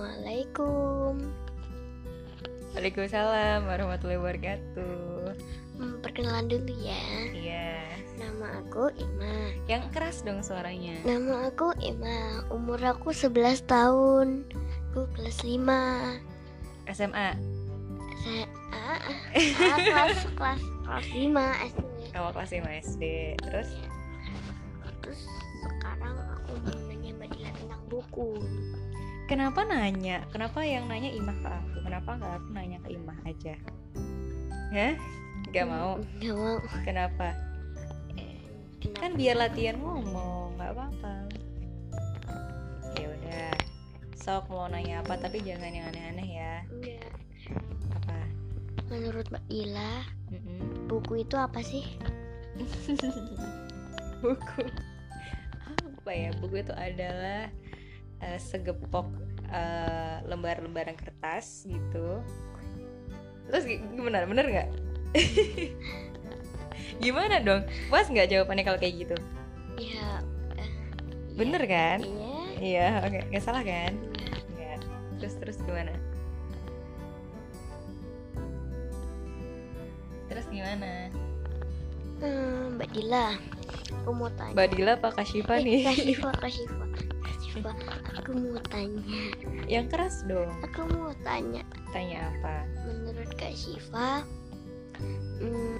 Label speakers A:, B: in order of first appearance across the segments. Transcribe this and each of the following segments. A: Assalamualaikum.
B: Waalaikumsalam warahmatullahi wabarakatuh.
A: Hmm, Perkenalan dulu ya.
B: Iya.
A: Nama aku Ima.
B: Yang keras dong suaranya.
A: Nama aku Ima. Umur aku 11 tahun. Aku kelas 5.
B: SMA.
A: Saya ah, ah, kelas kelas kelas 5 SD.
B: Awal kelas 5 SD. Terus
A: Terus sekarang aku mau nanya Mbak Dila tentang buku.
B: kenapa nanya? Kenapa yang nanya Imah ke aku? Kenapa nggak aku nanya ke Imah aja? Hah? Gak mau.
A: Hmm, Gak mau.
B: Kenapa?
A: Kenapa?
B: Kan biar latihan ngomong, nggak apa-apa. Ya udah. Sok mau nanya apa tapi jangan yang aneh-aneh ya.
A: Enggak.
B: Apa?
A: Menurut Mbak Dila,
B: Mm-mm.
A: buku itu apa sih?
B: buku apa ya buku itu adalah eh, segepok eh, lembar-lembaran kertas gitu terus gi- gimana bener nggak gimana dong puas nggak jawabannya kalau kayak gitu
A: Ya. eh,
B: bener kan
A: Iya.
B: iya oke nggak salah kan Nggak. terus terus gimana terus gimana
A: Hmm, Mbak Dila, aku mau tanya.
B: Mbak Dila apa
A: Eh,
B: Kashifa
A: Kak
B: nih
A: Shiva, Kak Shiva. Kak Shiva, aku mau tanya.
B: yang keras dong
A: Aku mau tanya.
B: tanya apa
A: Menurut Kak Shiva, hmm,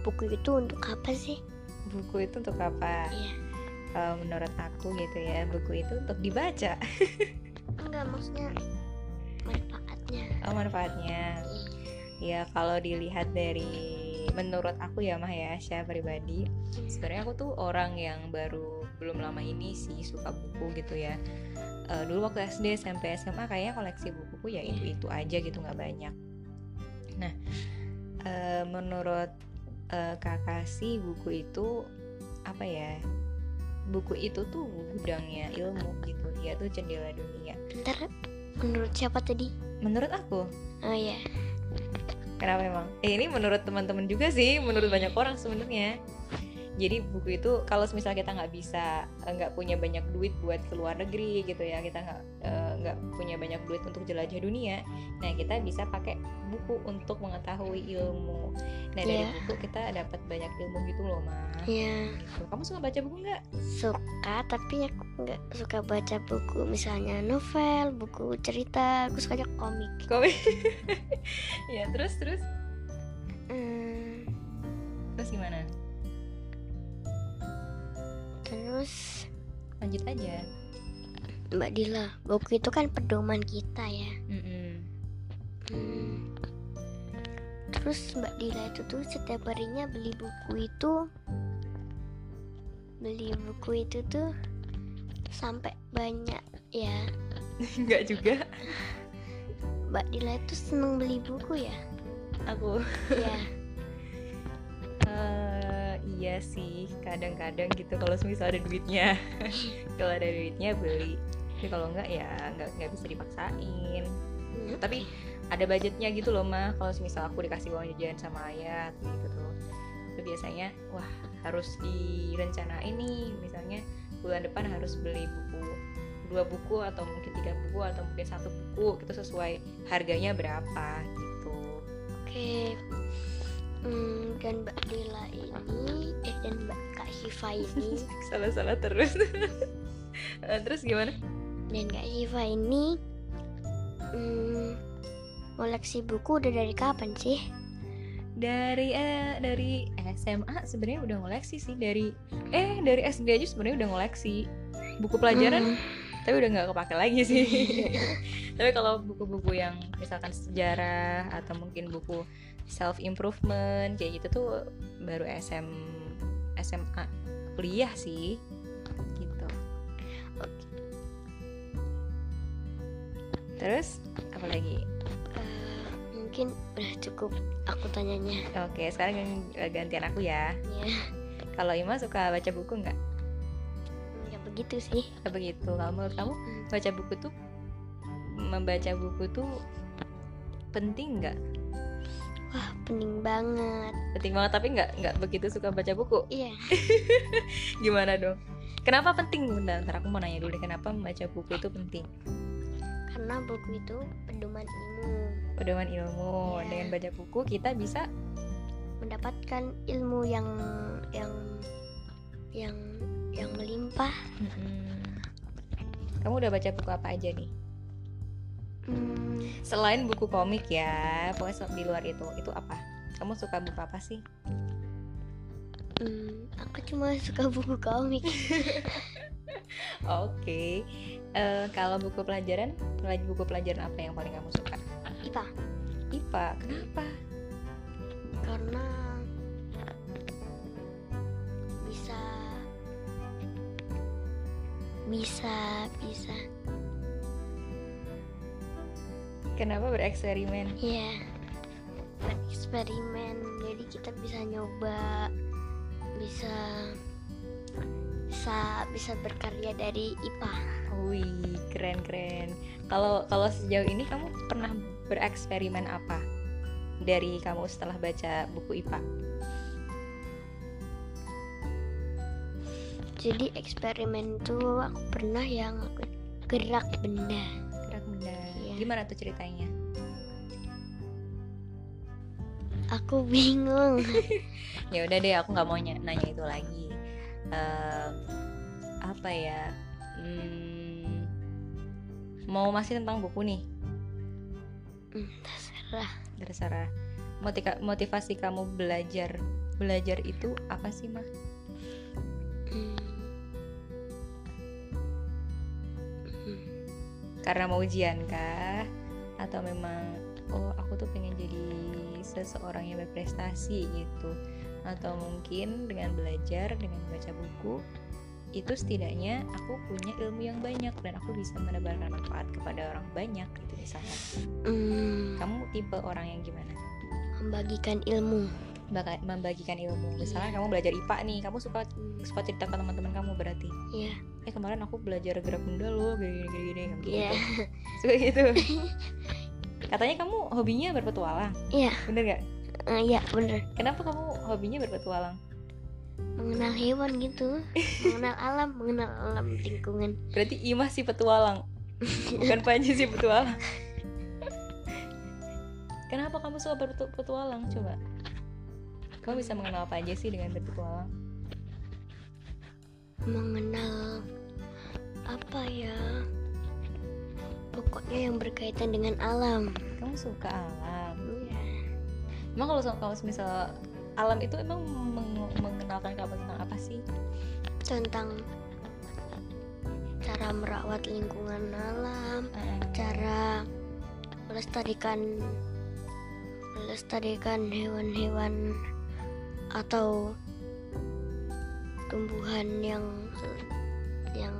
A: buku itu untuk apa sih?
B: buku itu untuk apa?
A: Iya.
B: Kalau menurut aku gitu ya, buku itu untuk dibaca.
A: Enggak maksudnya manfaatnya.
B: Oh, manfaatnya. Ya kalau dilihat dari menurut aku ya Mah ya, saya pribadi. Sebenarnya aku tuh orang yang baru belum lama ini sih suka buku gitu ya. Eh, dulu waktu SD, SMP, SMA kayaknya koleksi bukuku ya itu-itu aja gitu nggak banyak. Nah, eh, menurut eh, kakak sih buku itu apa ya? Buku itu tuh gudangnya ilmu gitu. Dia tuh jendela dunia.
A: Bentar, menurut siapa tadi?
B: Menurut aku,
A: Oh ya,
B: Kenapa emang? Eh, ini menurut teman-teman juga sih, menurut banyak orang sebenarnya. Jadi buku itu kalau misal kita nggak bisa, eh, nggak punya banyak duit buat ke luar negeri gitu ya, kita nggak eh, nggak punya banyak duit untuk jelajah dunia. Nah kita bisa pakai buku untuk mengetahui ilmu. Nah dari
A: Iya.
B: buku kita dapat banyak ilmu gitu loh mah.
A: ya
B: Kamu suka baca buku nggak?
A: suka tapi aku nggak suka baca buku misalnya novel, buku cerita, aku sukanya komik.
B: Kau? ya terus terus
A: Hmm,
B: terus gimana?
A: Terus
B: Lanjut aja.
A: Mbak Dila, buku itu kan pedoman kita ya.
B: Mm-mm.
A: Hmm. Terus Mbak Dila itu tuh setiap harinya beli buku itu beli buku itu tuh sampai banyak ya.
B: Nggak juga.
A: Mbak Dila itu seneng beli buku ya.
B: Aku
A: ya.
B: Eh, iya sih, kadang-kadang gitu kalau misal ada duitnya. kalau ada duitnya beli. Tapi kalau enggak ya enggak nggak bisa dipaksain.
A: Hmm.
B: Tapi ada budgetnya gitu loh, mah. Kalau misal aku dikasih uang jajan sama ayah gitu tuh. Itu biasanya wah, harus direncanain nih, misalnya bulan depan harus beli buku dua buku atau mungkin tiga buku atau mungkin satu buku itu sesuai harganya berapa gitu
A: Oke. Hmm, dan Mbak Dila ini eh dan Mbak Kak Hifa ini
B: salah-salah terus Eh, terus gimana
A: dan Kak Hifa ini hmm, koleksi buku udah dari kapan sih?
B: dari eh, dari SMA sebenarnya udah ngoleksi sih dari eh dari SD aja sebenarnya udah ngoleksi buku
A: Hmm.
B: pelajaran tapi udah nggak kepake lagi sih tapi kalau buku-buku yang misalkan sejarah atau mungkin buku self improvement kayak gitu tuh baru SM SMA kuliah sih gitu terus apa lagi
A: Eh, mungkin udah cukup aku tanyanya
B: oke sekarang yang- gantian aku ya
A: ya
B: kalau Ima suka baca buku nggak
A: nggak begitu sih
B: Ya begitu kalau menurut kamu
A: Hmm.
B: baca buku tuh membaca buku tuh penting nggak
A: wah pening banget
B: penting banget tapi nggak nggak begitu suka baca buku
A: iya
B: gimana dong Kenapa penting? Bentar, ntar aku mau nanya dulu deh, kenapa membaca buku itu penting?
A: karena buku itu pedoman ilmu
B: Pedoman ilmu.
A: Iya.
B: Dengan baca buku kita bisa
A: mendapatkan ilmu yang yang yang yang melimpah
B: Mm-mm. Kamu udah baca buku apa aja nih?
A: Hmm,
B: Selain buku komik ya, pokoknya se- di luar itu, itu apa? Kamu suka buku apa sih?
A: hmm, aku cuma suka buku komik
B: Oke. Eh, kalau buku pelajaran, pelaj buku pelajaran apa yang paling kamu suka?
A: IPA.
B: IPA. Kenapa?
A: karena bisa bisa bisa
B: Kenapa bereksperimen?
A: ya eksperimen jadi kita bisa nyoba bisa bisa bisa berkarya dari IPA
B: Wih, keren-keren. Kalau kalau sejauh ini kamu pernah bereksperimen apa dari kamu setelah baca buku IPA?
A: jadi eksperimen tuh aku pernah yang gerak benda
B: Gerak benda.
A: Iya.
B: Gimana tuh ceritanya?
A: aku bingung
B: Ya udah deh, aku nggak mau ny- nanya itu lagi. Eh, apa ya? Hmm, mau masih tentang buku nih?
A: Hmm, terserah
B: terserah Motika- motivasi kamu belajar belajar itu apa sih mah
A: Hmm. Hmm.
B: karena mau ujian kah atau memang oh aku tuh pengen jadi seseorang yang berprestasi gitu atau mungkin dengan belajar dengan membaca buku itu setidaknya aku punya ilmu yang banyak dan aku bisa menebarkan manfaat kepada orang banyak gitu misalnya
A: Hmm,
B: kamu tipe orang yang gimana
A: membagikan ilmu
B: Baka- membagikan ilmu misalnya kamu belajar IPA nih kamu suka suka cerita ke teman-teman kamu berarti
A: Iya.
B: eh kemarin aku belajar gerak benda loh gini gini gini gini, gitu
A: Iya.
B: suka gitu katanya kamu hobinya berpetualang
A: Iya.
B: bener gak
A: Eh, iya bener
B: kenapa kamu hobinya berpetualang
A: mengenal hewan gitu mengenal alam mengenal alam lingkungan
B: berarti imah si petualang bukan panji si petualang kenapa kamu suka berpetualang coba kamu bisa mengenal apa aja sih dengan berpetualang
A: mengenal apa ya pokoknya yang berkaitan dengan alam
B: kamu suka alam
A: Iya.
B: emang kalau kalau misal alam itu emang meng- mengenalkan kamu tentang apa sih
A: tentang cara merawat lingkungan alam
B: Eh,
A: cara melestarikan melestarikan hewan-hewan atau tumbuhan yang yang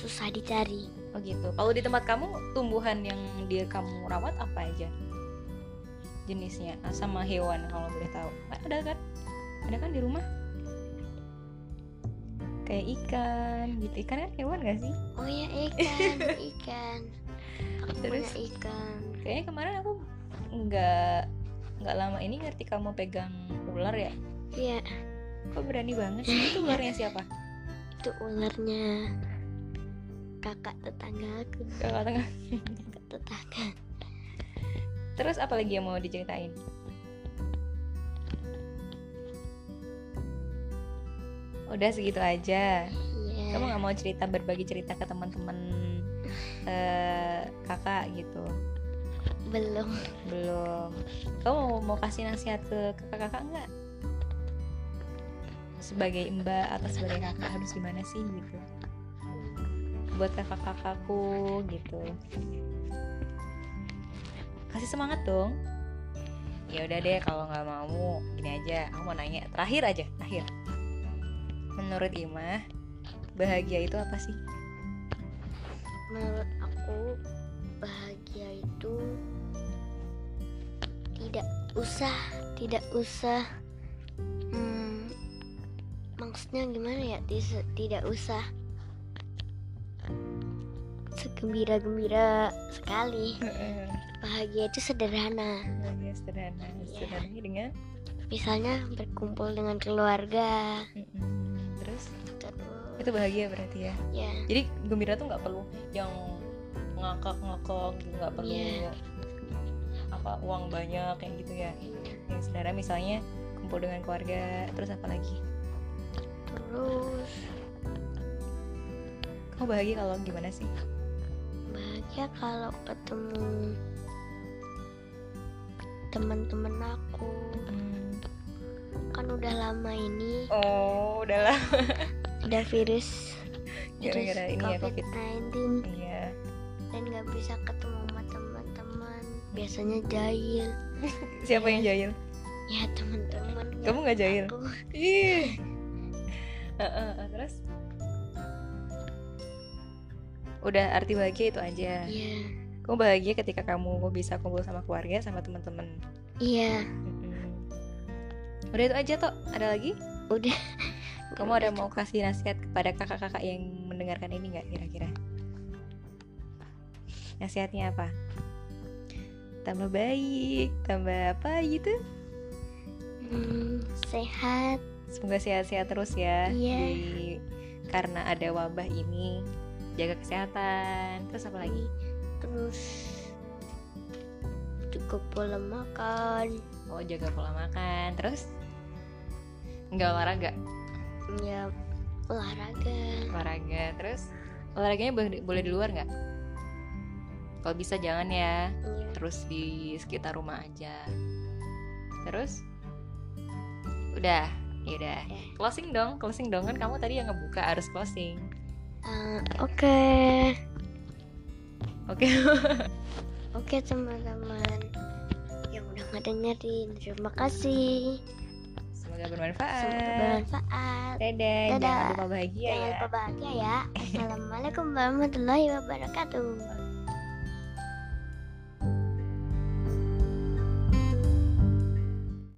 A: susah dicari
B: Oh gitu. Kalau di tempat kamu tumbuhan yang dia kamu rawat apa aja? Jenisnya Ah, sama hewan kalau boleh tahu. Ah, Ada kan? Ada kan di rumah? Kayak ikan gitu. Ikan kan hewan gak sih?
A: oh ya ikan ikan aku
B: Terus?
A: punya ikan
B: Kayaknya kemarin aku nggak nggak lama ini ngerti kamu pegang ular ya.
A: ya
B: Kok berani banget sih? Itu ularnya siapa?
A: itu ularnya kakak tetangga aku
B: Kakak tengah.
A: kakak tetangga
B: Terus apa lagi yang mau diceritain? Udah segitu aja.
A: iya
B: kamu nggak mau cerita berbagi cerita ke teman-teman eh, kakak gitu
A: belum
B: belum kamu mau, mau kasih nasihat ke kakak-kakak nggak sebagai mbak atau sebagai kakak harus gimana sih gitu buat kakak-kakakku gitu kasih semangat dong ya udah deh kalau nggak mau gini aja aku mau nanya terakhir aja terakhir menurut Imah bahagia itu apa sih
A: menurut aku bahagia itu tidak usah tidak usah hmm, maksudnya gimana ya Tis- tidak usah segembira gembira sekali bahagia itu sederhana
B: Bahagia sederhana
A: Iya.
B: sederhananya dengan
A: misalnya berkumpul dengan keluarga
B: Mm-mm. terus
A: terus
B: itu bahagia berarti ya
A: ya
B: jadi gembira tuh nggak perlu yang ngakak ngakak gitu nggak perlu
A: Iya.
B: apa uang banyak kayak gitu ya yang saudara misalnya kumpul dengan keluarga terus apa lagi
A: terus
B: kamu bahagia kalau gimana sih
A: bahagia kalau ketemu teman-teman aku kan udah lama ini
B: oh udahlah
A: ada virus virus
B: Gara-gara ini ya,
A: covid 19
B: iya
A: dan nggak bisa ketemu sama teman-teman biasanya jahil
B: siapa yang jahil
A: ya teman-teman
B: kamu nggak jahil
A: aku
B: ih Heeh, terus udah arti bahagia itu aja
A: iya
B: kamu bahagia ketika kamu bisa kumpul sama keluarga sama teman-teman
A: iya
B: Mm-mm. Udah itu aja toh, ada lagi?
A: Udah.
B: Kamu ada mau kasih nasihat kepada kakak-kakak yang mendengarkan ini nggak kira-kira? Nasihatnya apa? Tambah baik, tambah apa gitu?
A: Hmm, sehat
B: Semoga sehat-sehat terus ya.
A: Iya.
B: Di- karena ada wabah ini, jaga kesehatan. Terus apa lagi?
A: terus cukup pola makan
B: Oh, jaga pola makan. Terus nggak olahraga,
A: ya olahraga
B: olahraga. Terus olahraganya boleh boleh di luar nggak? Kalau bisa jangan ya.
A: ya,
B: terus di sekitar rumah aja terus udah ya udah
A: Udah.
B: closing dong closing dong kan kamu tadi yang ngebuka harus closing
A: eh, oke
B: oke
A: oke teman-teman yang udah ngedengerin terima kasih semoga
B: semoga bermanfaat
A: bermanfaat
B: dadah,
A: Dadah.
B: jangan lupa bahagia
A: Jangan
B: ya
A: lupa bahagia ya. Assalamualaikum warahmatullahi wabarakatuh.